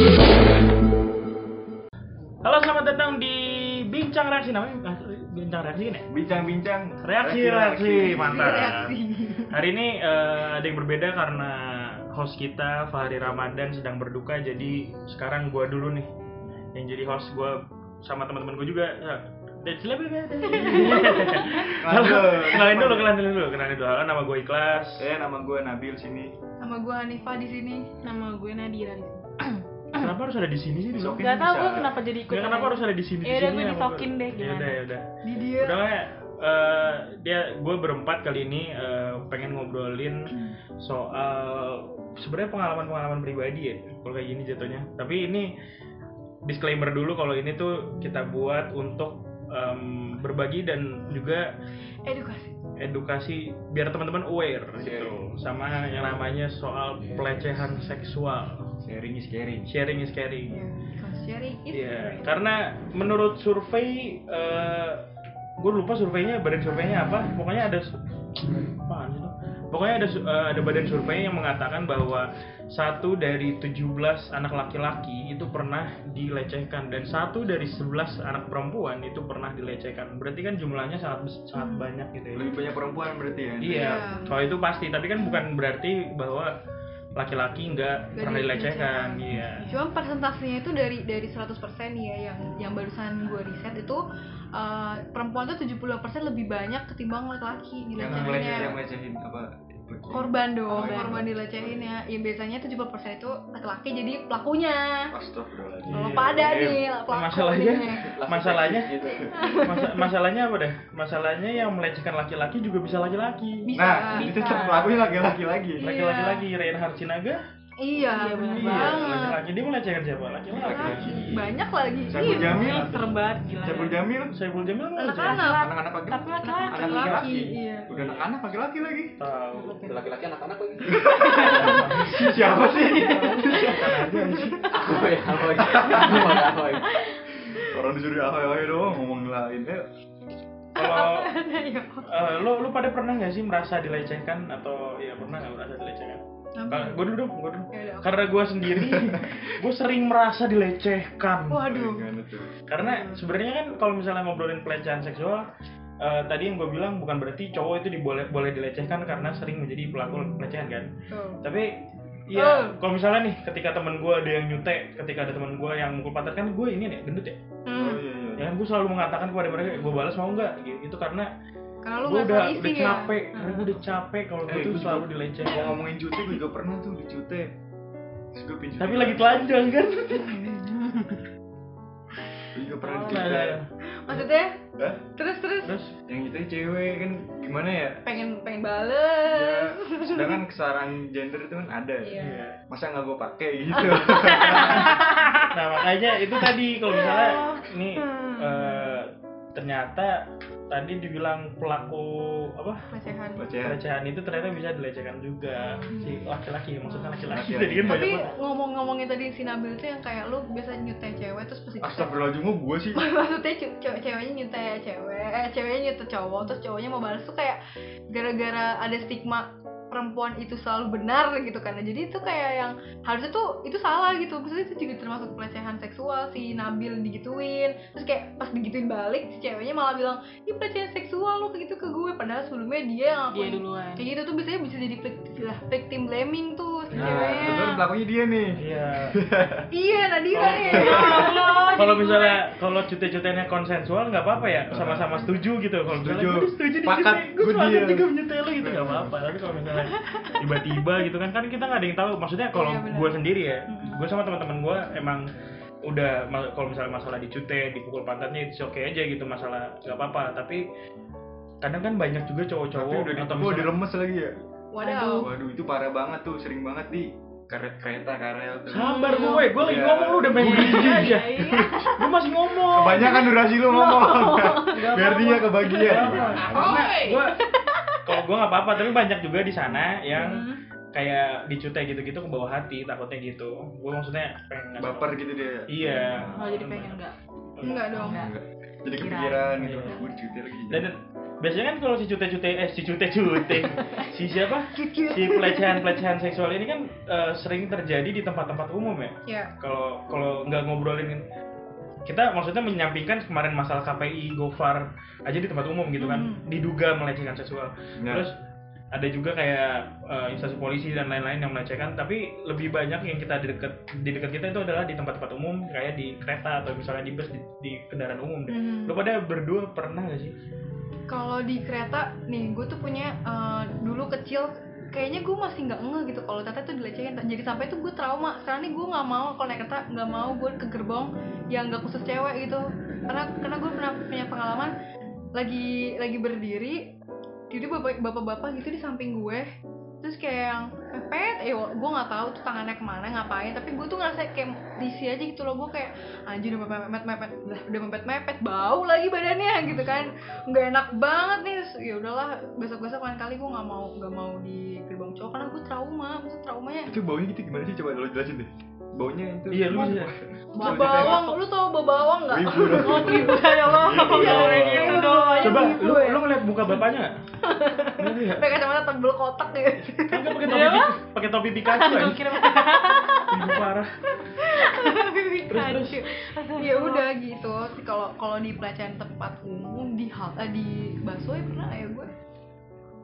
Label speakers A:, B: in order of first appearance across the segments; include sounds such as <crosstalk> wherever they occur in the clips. A: ah, reaksi kan ya?
B: Bincang-bincang.
A: Reaksi, reaksi, mantap.
C: Reaksi.
A: Hari ini eh, ada yang berbeda karena host kita Fahri Ramadan sedang berduka, jadi sekarang gua dulu nih yang jadi host gua sama teman-teman gua juga. Dan <laughs> kenalin dulu, kenalin dulu, kenalin dulu. Halo, nama gue Ikhlas.
B: Eh, nama gue Nabil sini.
C: Nama gue Hanifa di sini. Nama gue Nadira di sini.
A: Kenapa harus ada di sini sih? Dok?
B: Disokin
D: Gak tau
B: bisa.
D: gue kenapa jadi ikut.
A: Ya, kenapa harus ada di sini? di sini
D: Yaudah, gue
A: kenapa
D: disokin
A: gua-
D: deh, gimana?
A: Yaudah, yaudah.
C: Di dia.
A: Udah kayak eh, dia gue berempat kali ini eh, pengen ngobrolin soal sebenarnya pengalaman-pengalaman pribadi ya kalau kayak gini jatuhnya. Tapi ini disclaimer dulu kalau ini tuh kita buat untuk em, berbagi dan juga
C: Edukasi.
A: edukasi biar teman-teman aware gitu sama yang namanya soal pelecehan seksual.
B: Sharing is caring.
A: Sharing is caring.
C: Ya, because sharing is
A: Iya,
C: caring.
A: karena menurut survei gue lupa surveinya badan surveinya apa. Pokoknya ada su- apaan sih itu? Pokoknya ada su- eh, ada badan survei yang mengatakan bahwa satu dari 17 anak laki-laki itu pernah dilecehkan dan satu dari 11 anak perempuan itu pernah dilecehkan. Berarti kan jumlahnya sangat bes- sangat banyak gitu ya.
B: Lebih banyak perempuan berarti ya.
A: Iya,
C: Iya.
A: kalau itu pasti, tapi kan bukan berarti bahwa laki-laki nggak
C: Nggak
A: pernah dilecehkan.
C: dilecehkan.
A: Iya.
C: Cuma persentasenya itu dari dari 100% ya yang yang barusan gue riset itu eh, perempuan tuh 70% lebih banyak ketimbang
B: Yang
C: laki-laki dilecehinnya.
B: ngelecehin, yang ngelecehin apa?
C: Iya. korban dong,
B: Oh, iya.
C: korban dilecehin ya. Ya biasanya 70% itu laki-laki jadi pelakunya.
B: Astagfirullahaladzim.
C: Kalau
A: Iya.
C: pada
A: Iya.
C: nih pelaku
A: Masalahnya-
C: nih.
A: Masalahnya Masa- masalahnya apa deh? Masalahnya yang melecehkan laki-laki juga bisa laki-laki.
C: Bisa,
B: Nah,
C: Iya, bisa.
B: itu tetap pelakunya laki-laki lagi.
C: Iya.
A: Laki-laki lagi Reinhard Sinaga.
C: Iya,
D: Iya,
C: bener
D: bener
C: banget.
A: laki-laki dia melecehkan siapa? Laki-laki.
C: Laki-laki. Banyak lagi.
B: Saya
C: Iya.
B: jamin.
D: Ini serem banget gila. ya.
B: Cabul Jamil,
A: Saiful Jamil melecehkan.
C: Anak-anak.
E: anak-anak lagi
D: Tapi laki-lagi.
E: Anak laki-laki.
C: Iya.
B: udah anak-anak laki-laki lagi.
A: Tahu.
C: <laughs>
E: laki-laki anak-anak lagi
B: Siapa
C: <laughs>
B: sih?
E: ahoy ahoy ahoy ahoy
B: Orang disuruh ahoy-ahoy doang ngomong lain. Eh,
A: Kalau
C: Ayo.
A: eh, lo lo pada pernah nggak sih merasa dilecehkan atau ya pernah nggak merasa dilecehkan? Kalau gue dulu dong, gue dulu.
C: Yaudah, aku-
A: Karena gue sendiri, gue sering merasa dilecehkan.
C: Waduh.
B: gimana tuh?
A: karena
C: Hmm.
A: sebenarnya kan kalau misalnya ngobrolin pelecehan seksual eh, tadi yang gue bilang bukan berarti cowok itu diboleh boleh dilecehkan karena sering menjadi pelaku pelecehan kan
C: Tuh.
A: tapi
C: Eh.
A: iya kalau misalnya nih ketika teman gue ada yang nyutek ketika ada teman gue yang mukul pantat kan gue ini nih gendut ya
B: Oh
C: Hmm.
B: iya iya.
A: ya gue selalu mengatakan kepada mereka gue balas mau nggak Gitu. itu karena
C: Karena lu
A: gue
C: nggak
A: udah
C: sadar
A: udah
C: isi ya.
A: capek karena gue udah capek kalau gue
B: Eh,
A: tuh
B: gua juga-
A: selalu
B: Kalau
A: dilecehkan
B: ngomongin cute, gue juga pernah tuh di cute. Terus gue pinjam.
A: tapi lagi telanjang kan
B: Gue juga pernah di
A: Nah,
B: cute.
A: nah,
C: Maksudnya?
B: Hah?
C: Terus terus
A: terus
B: Yang itu cewek kan gimana ya?
C: pengen pengen
B: Ya,
C: bales.
B: sedangkan kesetaraan gender itu kan ada ya.
C: Iya.
A: iya.
B: Masa nggak gue pakai gitu?
A: nah makanya itu tadi kalau misalnya ini
C: Hmm.
A: eh, ternyata tadi dibilang pelaku apa
C: Pelecehan.
B: Bacaan.
A: pelecehan itu ternyata bisa dilecehkan juga si laki-laki maksudnya laki-laki
B: Laki-laki.
A: jadi kan banyak
C: Hmm. Tapi
A: banget
C: ngomong-ngomongin tadi si Nabil tuh yang kayak lu biasa nyutai cewek terus pasti
B: Astagfirullahaladzim, kok gue sih.
C: maksudnya cu- cewek- ceweknya nyutai cewek eh, ceweknya nyutai cowok terus cowoknya mau balas tuh kayak gara-gara ada stigma perempuan itu selalu benar gitu kan jadi itu kayak yang harusnya tuh itu salah gitu maksudnya itu juga termasuk pelecehan seksual si Nabil digituin terus kayak pas digituin balik si ceweknya malah bilang ini pelecehan seksual lo kayak gitu ke gue padahal sebelumnya dia yang
D: Dia
C: ngakuin
D: duluan.
C: kayak gitu tuh biasanya bisa jadi vic- lah, victim blaming tuh si
A: Nah,
C: ceweknya
B: Betul pelakunya dia nih.
A: iya
C: iya Nadira nih
A: kalau misalnya kalau cute-cutenya konsensual nggak apa-apa ya sama-sama setuju gitu kalau misalnya
B: Setuju.
A: gue setuju di
B: Pakat,
A: gue
B: gue
A: sepakat
B: diam.
A: juga menyutai lo gitu nggak apa-apa tapi kalau misalnya tiba-tiba gitu kan kan kita nggak ada yang tahu maksudnya kalau
C: Iya, benar.
A: gue sendiri ya
C: Mm-mm.
A: gue sama teman-teman gue emang udah ma- kalau misalnya masalah dicute dipukul pantatnya itu oke aja gitu masalah nggak apa-apa tapi kadang kan banyak juga
B: Tapi
A: cowok-cowok atau
B: udah ditemu,
A: misalnya-
B: diremes lagi ya.
C: waduh
B: Waduh, itu parah banget tuh, sering banget di karet kereta karel tuh.
A: sabar gue gue lagi
B: Iya.
A: ngomong lu udah main gigi aja
C: Iya.
A: gue masih ngomong
B: Kebanyakan durasi lu ngomong.
A: Nggak
B: Biar
A: apa-apa.
B: dia kebagian.
A: gue kalau gue nggak apa-apa tapi banyak juga di sana
C: Hmm.
A: yang kayak dicutai gitu-gitu ke bawah hati takutnya gitu gue maksudnya pengen ngasih
B: Baper gitu dia.
A: Iya.
D: Oh jadi pengen enggak.
A: tau.
C: enggak dong
B: Enggak. Jadi kepikiran gitu.
A: Iya.
B: Gue cuti lagi.
A: dan biasanya kan kalau si cute-cute eh si cute-cute si siapa
C: Cute-cute.
A: si pelecehan-pelecehan seksual ini kan eh, sering terjadi di tempat-tempat umum ya
C: ya
A: kalau kalau nggak ngobrolin kita maksudnya menyampingkan kemarin masalah KPI Gofar aja di tempat umum gitu kan
D: Hmm.
A: diduga melecehkan seksual
B: Ya.
A: terus ada juga kayak eh, instansi polisi dan lain-lain yang melecehkan tapi lebih banyak yang kita di dekat di dekat kita itu adalah di tempat-tempat umum kayak di kereta atau misalnya di bus di, di kendaraan umum deh
C: Hmm.
A: lo pada berdua pernah gak sih
C: Kalau di kereta nih, gue tuh punya eh, dulu kecil kayaknya gue masih nggak ngeh gitu kalau Tata tuh dilecehin jadi sampai tuh gue trauma sekarang nih gue nggak mau kalau naik kereta nggak mau gue ke gerbong yang nggak khusus cewek gitu karena karena gue pernah punya pengalaman lagi lagi berdiri jadi bapak bapak-bapak gitu di samping gue terus kayak yang pepet eh gue nggak tahu tuh tangannya kemana ngapain tapi gue tuh ngerasa kayak disi aja gitu loh gue kayak anjir udah mepet mepet mepet lah udah mepet mepet bau lagi badannya gitu kan nggak enak banget nih Terus, ya udahlah besok besok lain kali gue nggak mau nggak mau di gerbong cowok karena gue trauma maksud traumanya
B: itu baunya gitu gimana sih coba lo jelasin deh baunya itu
A: Iya, lu bisa.
C: bau bawang lu tau bau bawang nggak gitu.
B: Wibu
C: <laughs>
B: dong.
D: Oh, ribut ya Allah.
B: Iya.
D: Orang gitu doang.
C: Iya,
A: coba
C: gitu
A: lu
C: ya.
A: lu ngeliat muka bapaknya nggak
C: pakai kacamata tebel kotak ya
A: kan nggak pakai topi
D: Iya, Bang.
A: pakai topi Pikachu
D: Aduh,
A: anjing.
D: kira
A: Ibu parah <laughs> terus terus
C: ya udah gitu kalau kalau di pelecehan tempat umum di hal eh, di busway pernah nggak ya gue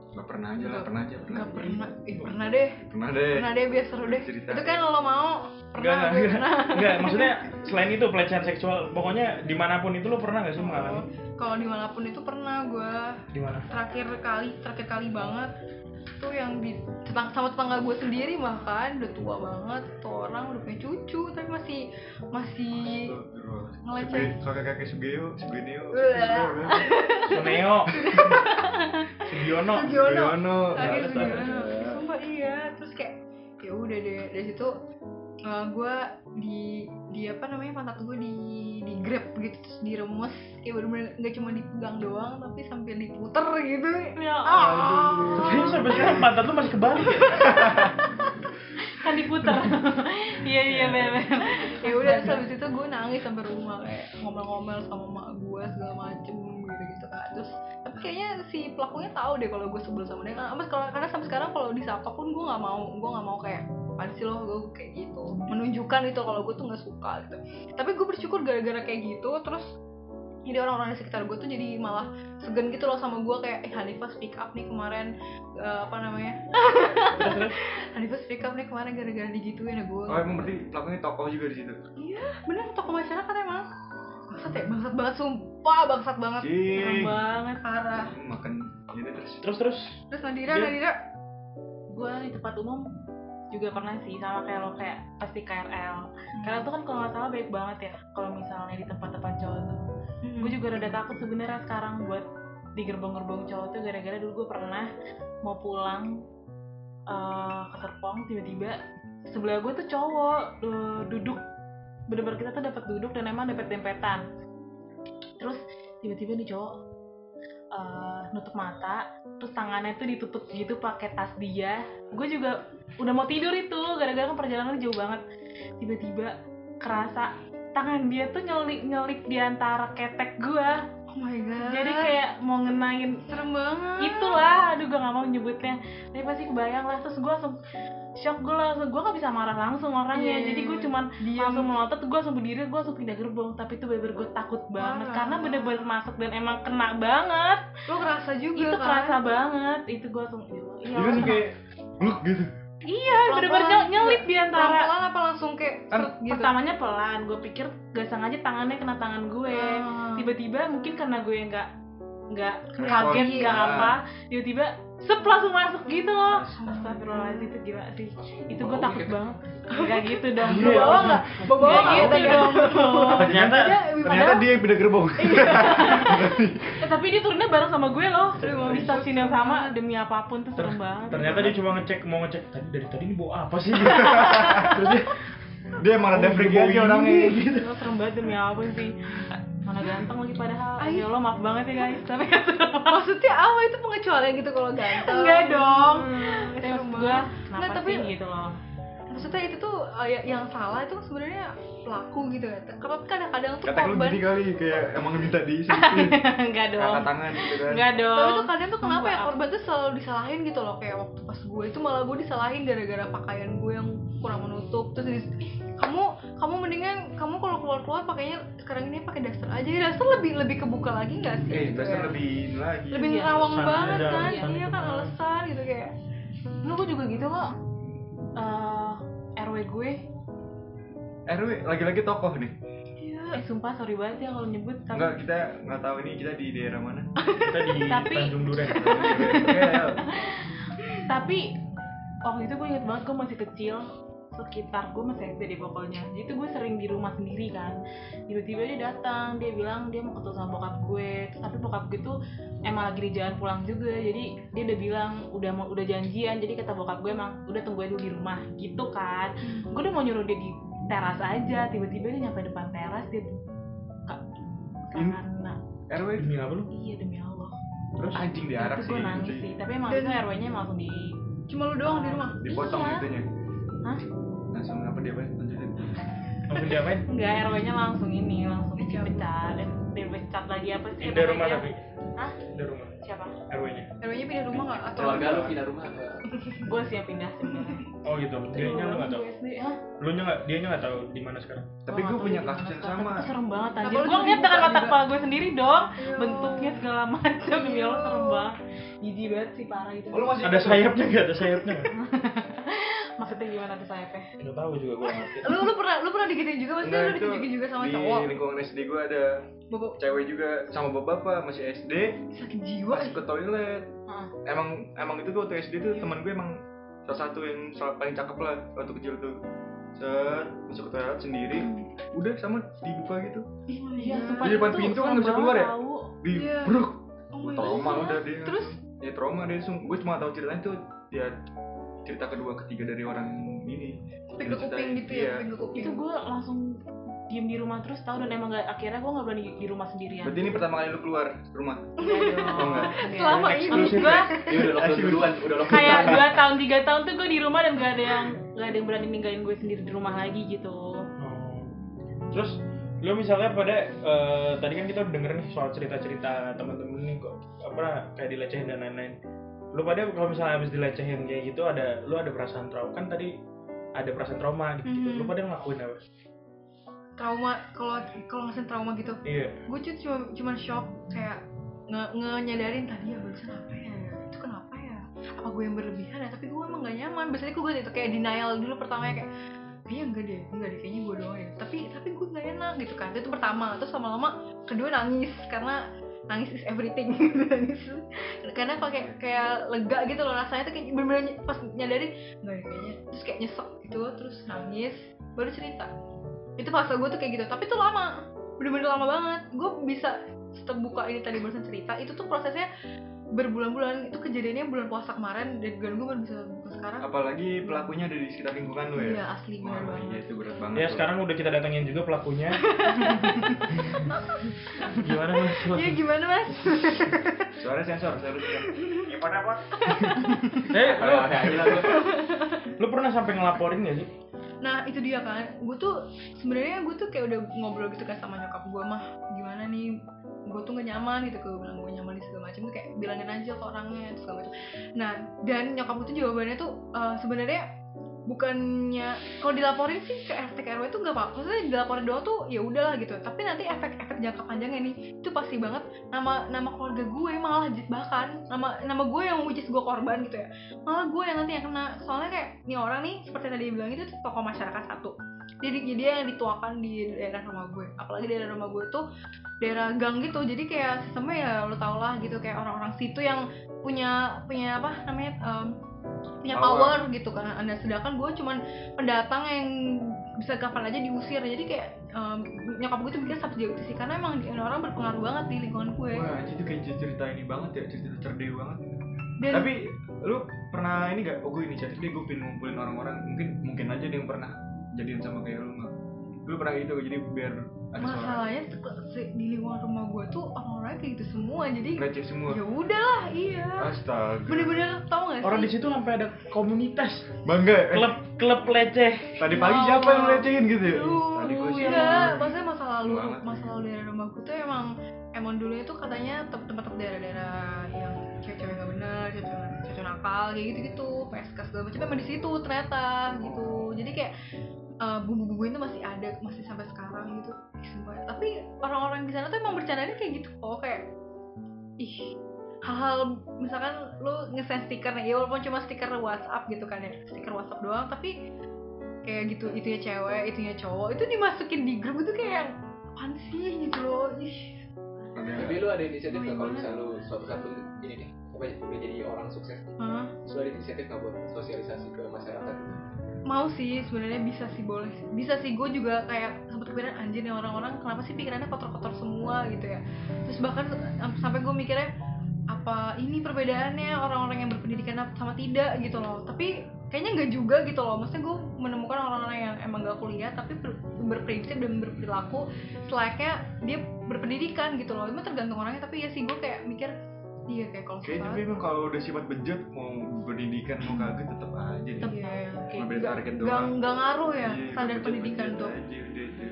B: Gak pernah aja lah,
C: Nggak-
B: pernah aja, pernah.
C: nggak pernah eh pernah deh
B: Pernah deh.
C: pernah deh biar seru deh
B: Cerita.
C: itu kan lo mau
A: Enggak,
C: pernah gue
A: enggak,
C: pernah
A: enggak.
C: <laughs>
A: Enggak, maksudnya selain itu pelecehan seksual, pokoknya dimanapun itu lo pernah gak sih
D: Oh.
A: mengalami?
C: kalau dimanapun itu pernah gue
A: Di mana?
C: terakhir kali terakhir kali banget tuh yang di tetang- sama tetangga gue sendiri bahkan udah tua banget tuh orang udah punya cucu tapi masih masih Ngeleceh.
B: Kakak kakek Sugeo, Sugeneo,
C: Ulah.
D: <laughs>
A: Suneo. Sugiono.
D: Oh.
C: Sugiono.
A: Nggak
B: Nah,
A: ada
C: Akhirnya segala Sumpah iya Terus kayak ya udah deh dari situ eh, gue di di apa namanya pantat gue di di grab gitu terus diremes kayak bener-bener nggak cuma dipegang doang tapi sambil diputer gitu
D: Ya
C: ah
A: Tapi sampai sekarang pantat lu masih kebalik. ya?
D: <laughs> Kan diputer.
A: <laughs>
D: Iya, iya, bener.
C: ya udah terus habis itu gue nangis sampai rumah kayak ngomel-ngomel sama mak gue segala macem gitu gitu kan terus tapi kayaknya si pelakunya tahu deh kalau gue sebel sama dia karena abis kalau karena sampai sekarang kalau disapa pun gue nggak mau gue nggak mau kayak apaan sih lo gue kayak gitu menunjukkan itu kalau gue tuh nggak suka gitu tapi gue bersyukur gara-gara kayak gitu terus jadi orang-orang di sekitar gue tuh jadi malah segan gitu loh sama gue kayak eh Hanifah speak up nih kemarin eh, apa namanya <laughs> Hanifah speak up nih kemarin gara-gara digituin ya gue
B: Oh emang berarti pelakunya tokoh juga di situ.
C: Iya, bener tokoh masyarakat emang. Bangsat ya, bangsat banget sumpah, bangsat banget
D: Serem
B: Cing.
D: banget.
C: parah. Ya
B: Makan ini terus.
A: Terus terus
C: Terus Nadira,
D: Iya.
A: Dia-
C: Nadira,
D: Gue di tempat umum juga pernah sih sama kayak lo kayak pasti KRL. Karena tuh kan kalau nggak salah baik banget ya kalau misalnya di tempat-tempat cowok tuh.
C: Hmm.
D: Gue juga rada takut sebenarnya sekarang buat di gerbong-gerbong cowok tuh gara-gara dulu gue pernah mau pulang eh, ke Serpong tiba-tiba sebelah gue tuh cowok eh, duduk bener-bener kita tuh dapat duduk dan emang dapat dempetan terus tiba-tiba nih cowok eh, nutup mata terus tangannya tuh ditutup gitu pakai tas dia gue juga udah mau tidur itu gara-gara kan perjalanan jauh banget tiba-tiba kerasa tangan dia tuh nyelik nyelik di antara ketek gue
C: oh my god.
D: jadi kayak mau ngenain
C: serem banget.
D: itulah aduh gue gak mau nyebutnya tapi pasti kebayang lah terus gue langsung shock gue langsung gue gak bisa marah langsung orangnya
C: Iya.
D: jadi gue cuman
C: Diem.
D: langsung melotot gue langsung berdiri gue langsung pindah gerbong tapi itu bener gue takut banget
C: Parah.
D: karena bener-bener masuk dan emang kena banget
C: Lo kerasa juga
D: itu
C: kan?
D: kerasa banget itu gue langsung "Ya Allah, ya
B: Dia kan
D: Allah."
B: kayak gluk gitu.
D: iya bener-bener
C: Iya, Pelan-pelan.
D: nyel- nyelip di antara
C: Pelan-pelan apa langsung kayak
D: Kan
C: serut gitu?
D: pertamanya pelan gue pikir gak sengaja tangannya kena tangan gue
C: Ah.
D: ya, tiba-tiba mungkin karena gue nggak nggak
B: Respon.
D: kaget nggak
B: Iya.
D: apa tiba-tiba sep langsung masuk gitu loh
C: Astaga.
D: astagfirullahaladzim itu gila sih itu gue
E: Bau
D: takut
E: gitu.
D: banget nggak gitu dong
C: Bawa
A: Iya.
C: bawa nggak? Bawa bawa
D: Nggak
C: nggak?
D: gitu
C: Tanya.
D: dong
A: ternyata
D: iya.
C: Dia-
B: Ternyata dia yang pindah gerbong.
C: Iya.
D: Eh, tapi dia turunnya bareng sama gue loh
B: Aduh,
D: di stasiun yang sama demi apapun tuh serem banget
A: ternyata dia cuma ngecek mau ngecek tadi dari tadi ini bawa apa
D: <laughs>
A: sih?
B: Dia
C: Oh,
B: emang rada freaky aja orangnya.
A: gitu.
D: Lo Iya, serem banget demi apa sih mana ganteng lagi padahal
C: Ay.
D: ya lo maaf banget ya guys tapi <laughs> serem banget.
C: Maksudnya apa itu pengecualian gitu kalau ganteng?
D: enggak dong
C: Hmm,
D: terus
C: serem
D: gue
C: banget.
D: kenapa
C: Nggak, tapi
D: sih gitu loh <laughs>
C: maksudnya itu tuh eh, ya- yang salah itu sebenarnya pelaku gitu ya tapi kadang-kadang tuh
B: Kata lu
C: korban
B: gini kali kayak emang minta diisi angkat
D: Enggak dong.
B: tangan gitu kan.
D: Enggak
C: tapi
D: dong.
C: tuh kadang tuh kenapa ya
D: Maaf.
C: korban tuh selalu disalahin gitu loh kayak waktu pas gue itu malah gue disalahin gara-gara pakaian gue yang kurang menutup terus dis- kamu kamu mendingan kamu kalau keluar-keluar pakainya sekarang ini pakai daster aja daster lebih lebih kebuka lagi nggak sih
B: Eh,
C: gitu
B: dasar
C: ya?
B: lebih ini lagi.
C: lebih
D: Iya,
C: nerawang
A: alasan
C: banget
A: ada,
C: kan
A: alasan
C: iya
A: gitu
C: kan
A: kan.
C: alasan gitu kayak
D: Lu gue juga gitu kok. Eh, RW gue.
B: RW Eh, lagi-lagi tokoh nih.
C: iya
D: Eh sumpah sorry banget ya kalau nyebut tapi
B: Enggak, kita nggak tahu ini kita di daerah
C: <laughs>
B: mana.
A: kita di
D: Tapi-
A: Tanjung Duren
B: Kayak
D: tapi waktu itu gue inget banget gue masih kecil sekitar gue masih SD deh pokoknya jadi tuh gue sering di rumah sendiri kan tiba-tiba dia datang dia bilang dia mau ketemu sama bokap gue Terus tapi bokap gue tuh emang lagi di jalan pulang juga jadi dia udah bilang udah mau udah janjian jadi kata bokap gue emang udah tunggu aja di rumah gitu kan gue udah mau nyuruh dia di teras aja tiba-tiba dia nyampe depan teras dia buka
B: In-
D: karena
B: RW
A: demi apa lu
D: iya demi Allah
A: terus
B: Eh, anjing diarak sih. ya.
D: itu gue nangis
B: cuy.
D: sih tapi emang
C: Dan-
D: itu RW-nya emang langsung di
C: cuma lu doang di rumah
B: Dipotong
D: Iya.
B: itunya.
D: Hah?
B: Langsung apa dia apa? Lanjutin.
A: langsung diapain
D: Enggak, RW-nya langsung ini, langsung dipecat. Eh, dipecat lagi apa sih?
A: pindah rumah
D: namanya?
A: tapi
D: Hah?
A: pindah rumah
D: Siapa?
A: RW nya
C: RW-nya pindah rumah nggak atau
E: keluarga lu pindah rumah apa?
D: Gue sih yang pindah sebenarnya.
A: oh gitu dia nya lu nggak tahu
D: Gua SD, hah?
A: lu nya nggak dia nya nggak tahu di mana sekarang
B: Tapi
D: Gua
B: gue
D: nggak
B: punya
D: tahu gimana
B: kasus yang
D: sekarang,
B: sama.
D: tapi Serem banget
C: Kenapa
D: aja.
C: lu
D: Gue ngeliat
C: dibuka
D: dengan mata
C: juga?
D: kepala gue sendiri dong.
C: Iya.
D: Bentuknya segala macam.
C: Iya.
D: Demi Allah serem banget. Jijik banget sih parah itu.
E: Oh, lu masih
A: ada sayapnya nggak ada sayapnya nggak?
D: Maksudnya gimana tuh ya? sayapnya?
A: nggak tahu juga gue ngerti
C: lu lu pernah lu pernah digituin juga maksudnya
B: Enggak,
C: lu
B: Nah, itu
C: ditunjukin juga sama
B: di
C: cowok
B: lingkungan SD gue ada
C: Bapak-
B: cewek juga sama bapak-bapak masih SD
C: sakit jiwa
B: masuk ke toilet
D: Hah?
B: emang emang itu tuh waktu SD tuh teman gue emang salah satu yang salah- paling cakep lah waktu kecil tuh set masuk ke toilet sendiri
C: Hmm.
B: udah sama dibuka gitu
D: Iya, sumpah.
B: Di depan
D: itu
B: pintu kan
D: serem
B: nggak bisa keluar ya?
D: banget, tahu.
B: di
C: Iya.
B: bruk
C: Oh my
B: trauma
C: God.
B: udah dia
C: terus
B: ya trauma dia langsung gue cuma tahu ceritanya tuh dia cerita kedua ketiga dari orang ini
C: kuping ke kuping gitu
B: Iya.
C: ya kuping ke kuping
D: Itu gue langsung diem di rumah terus tahu dan emang gak, akhirnya gue gak berani di rumah
C: Ya.
D: sendirian. <laughs>
B: berarti ini pertama kali lu keluar
C: <laughs>
B: rumah Ya,
D: Enggak dong.
B: Oh, enggak.
D: Enggak.
C: selama ini
A: Eksklusif.
D: Gua-
E: Dia udah lockdown duluan, udah lockdown
D: kayak
E: duluan.
D: dua tahun tiga tahun tuh gue di rumah dan gak ada yang gak ada yang berani ninggalin gue sendiri di rumah lagi gitu
A: Oh. Terus lo misalnya pada eh, tadi kan kita udah dengerin nih soal cerita-cerita teman-teman nih kok apa kayak dilecehin dan lain-lain. Lo pada kalau misalnya habis dilecehin kayak gitu ada lo ada perasaan trauma kan tadi ada perasaan trauma gitu.
C: Mhm.
A: Lo pada ngelakuin apa?
C: trauma kalau kalau ngerasain trauma gitu
A: Iya.
C: gue tuh cuma cuman shock kayak nge, nge nyadarin tadi ya barusan apa ya itu kenapa ya apa gue yang berlebihan ya tapi gue emang gak nyaman biasanya gue gitu kayak denial dulu pertamanya kayak kayaknya Iya, enggak deh enggak deh kayaknya gue doang
B: Iya.
C: ya tapi tapi gue gak enak gitu kan itu pertama terus lama-lama kedua nangis karena nangis is everything <laughs> nangis karena kalau kayak kayak lega gitu loh rasanya tuh kayak bener-bener ny- pas nyadarin enggak deh kayaknya terus kayak nyesek gitu terus nangis baru cerita itu fase gue tuh kayak gitu tapi itu lama bener-bener lama banget gue bisa terbuka ini tadi barusan cerita itu tuh prosesnya berbulan-bulan itu kejadiannya bulan puasa kemarin dan gue baru bisa buka sekarang
B: apalagi pelakunya ada di sekitar lingkungan lu
C: iya
B: ya
C: asli bener
B: Wah, iya
C: banget
B: itu berat banget
A: Ya
B: tuh.
A: sekarang udah kita datengin juga pelakunya. Gimana mas?
C: ya
A: <laughs>
C: gimana mas
B: suara sensor seharusnya
A: Eh,
E: Kayak-
A: lo,
E: kayak gila gua.
A: lo pernah sampai ngelaporin gak sih?
C: nah itu dia kan gue tuh sebenarnya gue tuh kayak udah ngobrol gitu kan sama nyokap gue mah gimana nih gue tuh gak nyaman gitu gue bilang gue nyaman di segala macam tuh kayak bilangin aja ke orangnya terus segala macam nah dan nyokap gue tuh jawabannya tuh eh, sebenarnya bukannya kalau dilaporin sih ke RT ke RW tuh nggak apa-apa maksudnya dilaporin doang tuh ya udahlah gitu tapi nanti efek-efek jangka panjangnya nih itu pasti banget nama nama keluarga gue malah j- bahkan nama nama gue yang which is gue korban gitu ya malah gue yang nanti yang kena soalnya kayak nih orang nih seperti yang tadi dia bilang itu tuh tokoh masyarakat satu jadi dia yang dituakan di daerah rumah gue apalagi daerah rumah gue tuh daerah gang gitu jadi kayak sistemnya ya lo tau lah gitu kayak orang-orang situ yang punya punya apa namanya em, punya power.
B: Power.
C: gitu kan anda sedangkan gue cuman pendatang yang bisa kapan aja diusir jadi kayak em, nyokap gue tuh mikir sampai jauh itu sih karena emang dia- orang berpengaruh banget di lingkungan gue
B: Wah, anjing itu kayak cerita ini banget ya, cerita cerdik banget.
C: dan
B: Tapi lu pernah ini gak? Oh gue ini cerdik, gue pengen ngumpulin orang-orang. Mungkin mungkin aja ada yang pernah jadian sama kayak lu nggak? Lu pernah gitu, jadi biar ada suara
C: masalahnya se- se- di lingkungan rumah gue tuh orang-orang kayak gitu semua jadi
B: receh semua
C: ya udahlah iya
B: astaga
C: bener-bener tau gak sih
B: ya?
A: Orang di situ sampai ada komunitas
B: bangga eh,
A: klub klub leceh.
B: tadi pagi siapa yang lecehin gitu ya
C: Aduh, iya.
B: tadi gua sih
C: enggak, maksudnya masa lalu
B: Gua amat.
C: masa lalu daerah rumahku tuh emang emang dulu itu katanya tem- tempat-tempat daerah-daerah yang cewek-cewek nggak benar, cewek-cewek cewek nakal kayak gitu-gitu, peskas segala macam emang di situ ternyata gitu. Jadi kayak eh, bumbu-bumbu itu masih ada masih sampai sekarang gitu Ih, sumpah. tapi orang-orang di sana tuh emang bercandanya kayak gitu kok kayak ih hal-hal misalkan lu ngesend stiker nih ya walaupun cuma stiker WhatsApp gitu kan ya stiker WhatsApp doang tapi kayak gitu itunya cewek itunya cowok itu dimasukin di grup itu kayak yang, apaan sih gitu loh ih
E: Tapi lu ada inisiatif nggak kalau
C: Gimana?
E: misalnya lu suatu saat lu ini nih apa ya, udah jadi orang sukses,
C: Hah?
E: terus lu ada inisiatif nggak buat sosialisasi ke masyarakat?
C: mau sih sebenarnya bisa sih boleh sih. bisa sih gue juga kayak sempet kepikiran anjir nih orang-orang kenapa sih pikirannya kotor-kotor semua gitu ya terus bahkan am- sampai gue mikirnya apa ini perbedaannya orang-orang yang berpendidikan ap- sama tidak gitu loh tapi kayaknya nggak juga gitu loh maksudnya gue menemukan orang-orang yang emang gak kuliah tapi ber- berprinsip dan berperilaku selayaknya dia berpendidikan gitu loh emang tergantung orangnya tapi ya sih gue kayak mikir iya kayak kalau
B: kayaknya tapi emang kalau udah sifat bejat mau pendidikan mau kagak tetap aja deh
C: tetap ya
B: Cuma beda target
C: nggak
B: doang
C: nggak ngaruh ya
B: Iya,
C: standar
B: bejat-bejat
C: pendidikan tuh
B: aja udah itu.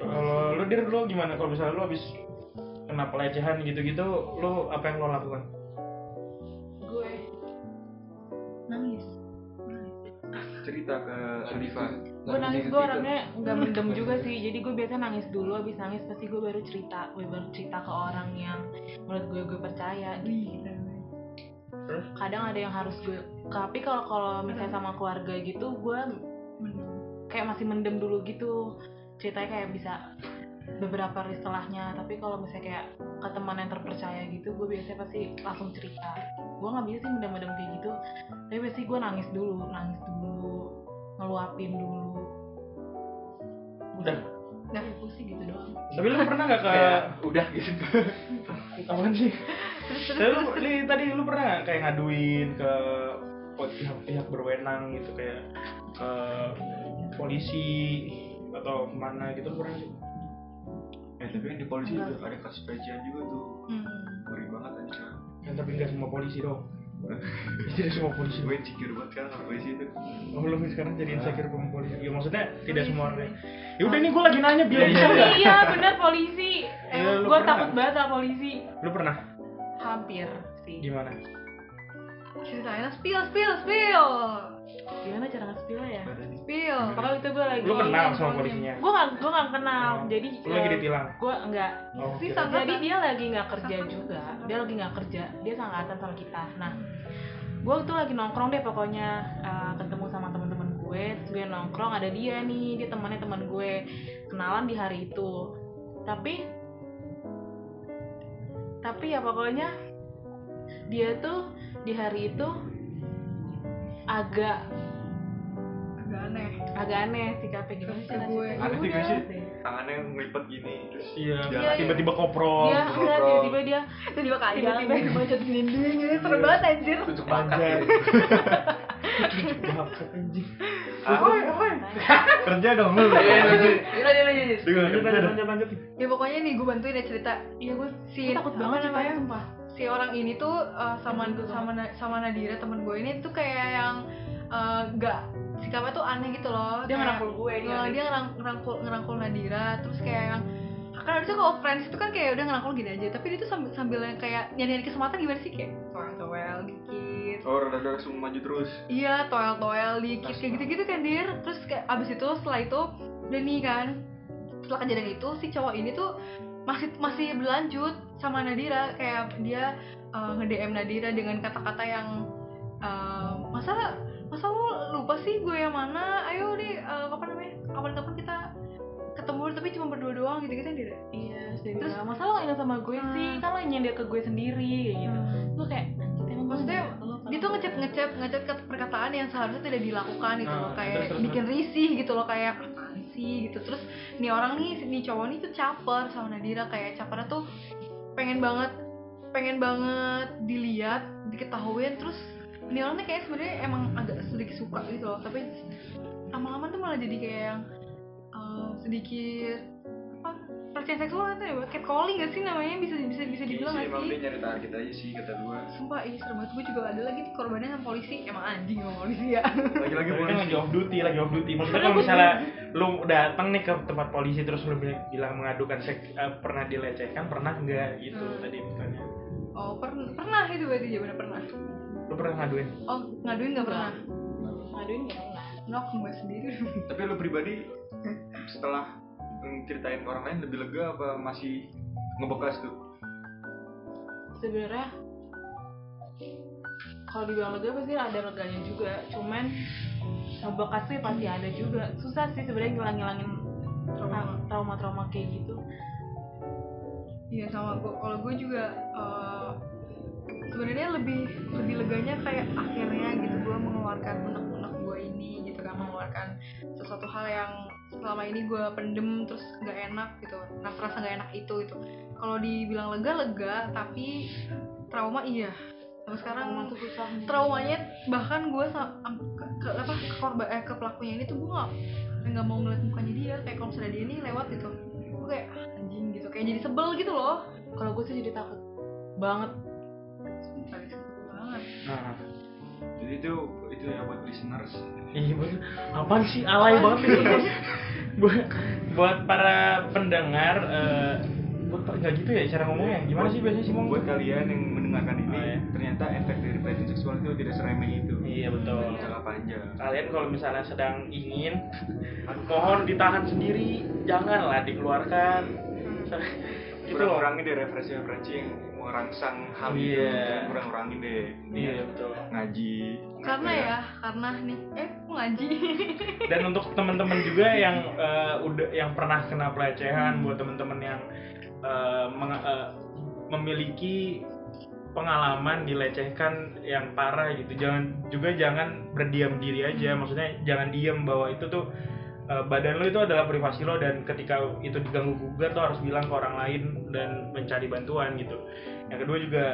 A: Kalau lu dir lu gimana kalau misalnya lu habis kena pelecehan gitu-gitu, lu apa yang lo lakukan?
D: gue
C: nangis
B: cerita ke Alifa
D: gue nangis gue orangnya nggak
B: <laughs>
D: mendem juga sih jadi gue biasa nangis dulu abis nangis pasti gue baru cerita gue baru cerita ke orang yang menurut gue gue percaya gitu kadang ada yang harus gue tapi kalau kalau misalnya
B: Hmm.
D: sama keluarga gitu gue kayak masih mendem dulu gitu ceritanya kayak bisa beberapa istilahnya tapi kalau misalnya kayak ke teman yang terpercaya gitu gue biasanya pasti langsung cerita gue nggak bisa sih mendem-mendem kayak gitu tapi pasti gue nangis dulu nangis dulu ngeluapin dulu
A: Udah.
D: udah ya, gue sih gitu doang
A: Tapi lu pernah nggak ke
E: kayak udah gitu.
A: apaan sih?
C: terus terus
A: Tapi lu,
C: terus, terus.
A: li, tadi lu pernah nggak kayak ngaduin ke po- pihak-pihak berwenang gitu kayak ke polisi atau kemana gitu lu pernah sih?
B: eh tapi kan di polisi itu ada kasus pelecehan juga tuh
C: Hmm.
B: ngeri banget anjir
A: Kan tapi nggak semua polisi dong. Tidak semua polisi.
B: gue insecure banget kan sama polisi itu
A: Oh, lu sekarang jadi insecure sama polisi. Ya maksudnya tidak
C: Polisi.
A: semua orang. Ya udah nih gue lagi nanya biar bisa nggak?
D: iya bener polisi
A: Iya, lu
D: gue
A: pernah
D: takut
A: nggak?
D: banget sama polisi
A: Lu pernah
D: hampir sih
A: gimana?
C: ceritain spill spill spill
D: gimana cara nge-spill ya
C: spill
D: pokoknya itu gue lagi
A: Iya. Lu kenal sama polisinya? Oh.
D: gue gak gue gak kenal jadi eh,
A: Lu lagi ditilang.
D: gue enggak
A: Oh,
C: Sih,
A: kira-
D: jadi
C: Angkatan.
D: dia lagi nggak kerja juga dia lagi nggak kerja dia sangatan sama kita nah gue tuh lagi nongkrong deh pokoknya eh, ketemu sama teman-teman gue terus gue nongkrong ada dia nih dia temannya teman gue kenalan di hari itu tapi tapi ya pokoknya dia tuh di hari itu agak
C: agak aneh
D: agak aneh sikapnya gimana sih
C: Ke gue.
D: rasanya?
B: Aneh
D: Ya
B: sih gak
D: udah.
B: sih? tangannya ngelipet gini terus
A: Iya,
B: Iya,
A: tiba-tiba koprol.
D: dia enggak
B: ngobrol.
D: tiba-tiba dia
C: itu juga kayak
D: Tiba-tiba.
C: tiba-tiba bacot ninding gitu serem banget anjir
E: Tunjuk bakat.
A: Anjir.
E: gitu.
A: Bakat anjing.
B: Ah, kerja dong lu
E: Iya, iya,
B: Dia
E: iya.
B: nggak
A: Lanjut,
B: kerja
A: lanjut,
B: dong.
A: lanjut, lanjut.
C: ya pokoknya nih gue bantuin ya cerita
D: iya gue
C: Si-
D: gue takut
C: apa
D: banget
C: namanya?
D: ceritanya sumpah
C: si orang ini tuh uh, sama
D: Temen gue
C: sama Na- sama Nadira temen gue ini tuh kayak yang uh, gak sikapnya tuh aneh gitu loh
D: dia
C: Kayak-
D: ngerangkul gue dia
C: Ngerang- Nah, dia ngerang- ngerangkul ngerangkul Nadira terus kayak yang kan harusnya kalau friends itu kan kayak udah ngerangkul gini aja tapi dia tuh sambil sambil yang kayak nyari nyari kesempatan gimana sih kayak toel toel dikit
B: oh rada rada langsung maju terus
C: iya toel toel dikit kayak gitu gitu kan dir terus kayak abis itu setelah itu udah nih kan setelah kejadian itu si cowok ini tuh masih masih berlanjut sama Nadira kayak dia eh, nge-DM Nadira dengan kata-kata yang eh, masa masa lu lupa sih gue yang mana ayo nih eh, kapan namanya kapan-kapan kita ketemu tapi cuma berdua doang gitu-gitu kan, Nadira
D: iya terus dia
C: Terus-
D: bilang, masa lo ingat sama gue sih
C: Hmm.
D: kan lo nyender ke gue sendiri kayak gitu gue kayak emang gue
C: Maksudnya,
D: nggak- lo-
C: dia tuh ngecap ngecap ngecap kata perkataan yang seharusnya tidak dilakukan gitu
A: Nah,
B: Ah,
C: loh kayak
A: terus, terus,
C: bikin risih gitu loh kayak apaan sih gitu terus nih orang nih nih cowok nih tuh caper sama Nadira kayak capernya tuh pengen banget pengen banget dilihat diketahuin terus nih orangnya kayak sebenarnya emang agak sedikit suka gitu loh tapi lama-lama tuh malah jadi kayak yang eh, sedikit apa pelecehan seksual itu ya catcalling gak sih namanya bisa bisa bisa
B: Iya
C: dibilang
B: sih,
C: gak
B: emang dia
C: sih
B: nyari target aja sih kata gua
C: sumpah ini serem banget gue juga ada lagi nih korbannya sama polisi emang anjing sama polisi ya <laughs>
B: Lagi-lagi
A: Mereka
B: polisi
A: lagi off duty, lagi off duty. Maksudnya kalau misalnya lu datang nih ke tempat polisi terus lu bilang- bilang mengadukan sek- eh, pernah dilecehkan, pernah enggak gitu
C: Hmm.
A: tadi misalnya.
C: oh per pernah itu berarti jawabannya pernah
A: Lu pernah ngaduin?
C: oh ngaduin gak pernah
D: Ngaduin nggak pernah.
C: nok gue sendiri <laughs>
B: Tapi lu pribadi setelah ceritain orang lain lebih lega apa masih ngebekas tuh?
D: sebenarnya kalau dibilang lega pasti ada leganya juga cuman bekas sih pasti ada juga susah sih sebenarnya ngilang-ngilangin
C: Trauma.
D: trauma-trauma kayak gitu
C: Iya sama gue. Kalau gue juga eh, sebenarnya lebih lebih leganya kayak akhirnya gitu gue mengeluarkan unek-unek gue ini gitu kan mengeluarkan sesuatu hal yang selama ini gue pendem terus nggak enak gitu. Nah rasa nggak enak itu itu. Kalau dibilang lega lega tapi trauma iya. Sampai sekarang
D: trauma tuh susah
C: traumanya bahkan gue ke, ke apa ke korban eh, ke pelakunya ini tuh gue nggak nggak mau ngeliat mukanya dia kayak kalau misalnya dia ini lewat gitu gue kayak "Ah, anjing gitu kayak jadi sebel gitu loh
D: kalau gue tuh jadi takut banget
C: Sumpah, gitu, sebel banget
A: Nah,
B: Jadi itu itu ya buat listeners.
A: iya bener. Apaan sih alay banget itu? <laughs> buat buat para pendengar eh, buat nggak gitu ya cara ngomongnya gimana sih biasanya sih ngomong
B: Buat kalian yang mendengarkan ini,
A: Oh, iya.
B: ternyata efek dari pelecehan seksual itu tidak seremeh itu.
A: iya betul
B: Dan Jangka panjang.
A: kalian kalau misalnya sedang ingin mohon ditahan sendiri janganlah dikeluarkan gitu loh
B: Kurang-kurangin deh referensi-referensi yang merangsang hal itu.
A: Iya.
B: Jangan Kurang-kurangin deh. ya,
A: iya betul
B: Ngaji.
C: karena
A: Iya.
B: ngajar.
C: ya karena nih eh kok ngaji
A: dan untuk teman-teman juga yang eh, udah yang pernah kena pelecehan buat teman-teman yang eh, meng- eh, memiliki pengalaman dilecehkan yang parah gitu jangan juga jangan berdiam diri aja maksudnya jangan diam bahwa itu tuh eh, badan lo itu adalah privasi lo dan ketika itu diganggu gugat lo harus bilang ke orang lain dan mencari bantuan gitu yang kedua juga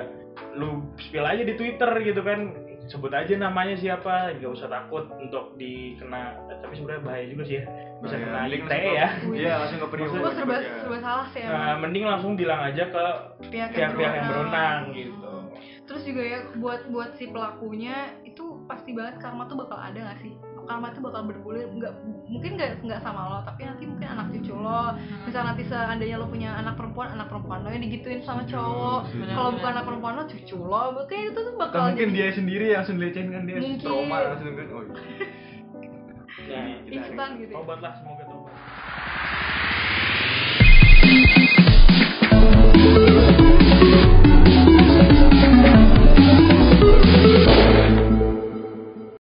A: lu spill aja di Twitter gitu kan sebut aja namanya siapa nggak usah takut untuk dikena tapi sebenarnya bahaya juga sih ya bisa
B: Bahaya.
A: kena ITE
B: Mending langsung ke-
A: ya
B: Iya, langsung ke Iya. periode.
C: gue serba serba salah sih
A: Nah,
C: emang.
A: mending langsung bilang aja ke
C: pihak
A: pihak-pihak
C: Iya.
A: yang berenang gitu
C: terus juga ya buat buat si pelakunya itu pasti banget karma tuh bakal ada gak sih karma tuh bakal bergulir nggak mungkin nggak nggak sama lo tapi nanti mungkin anak cucu lo misal nanti seandainya lo punya anak perempuan anak perempuan lo yang digituin sama cowok
B: Hmm.
D: Benar-benar.
C: kalau bukan anak perempuan lo cucu lo mungkin itu tuh
B: Atau
C: bakal
B: mungkin
C: jadi
B: dia sendiri yang langsung dilecehin kan dia
C: Mungkin. <laughs>
B: trauma langsung kan. Oh,
A: ya
B: kita
C: instan gitu ya.
A: obatlah semoga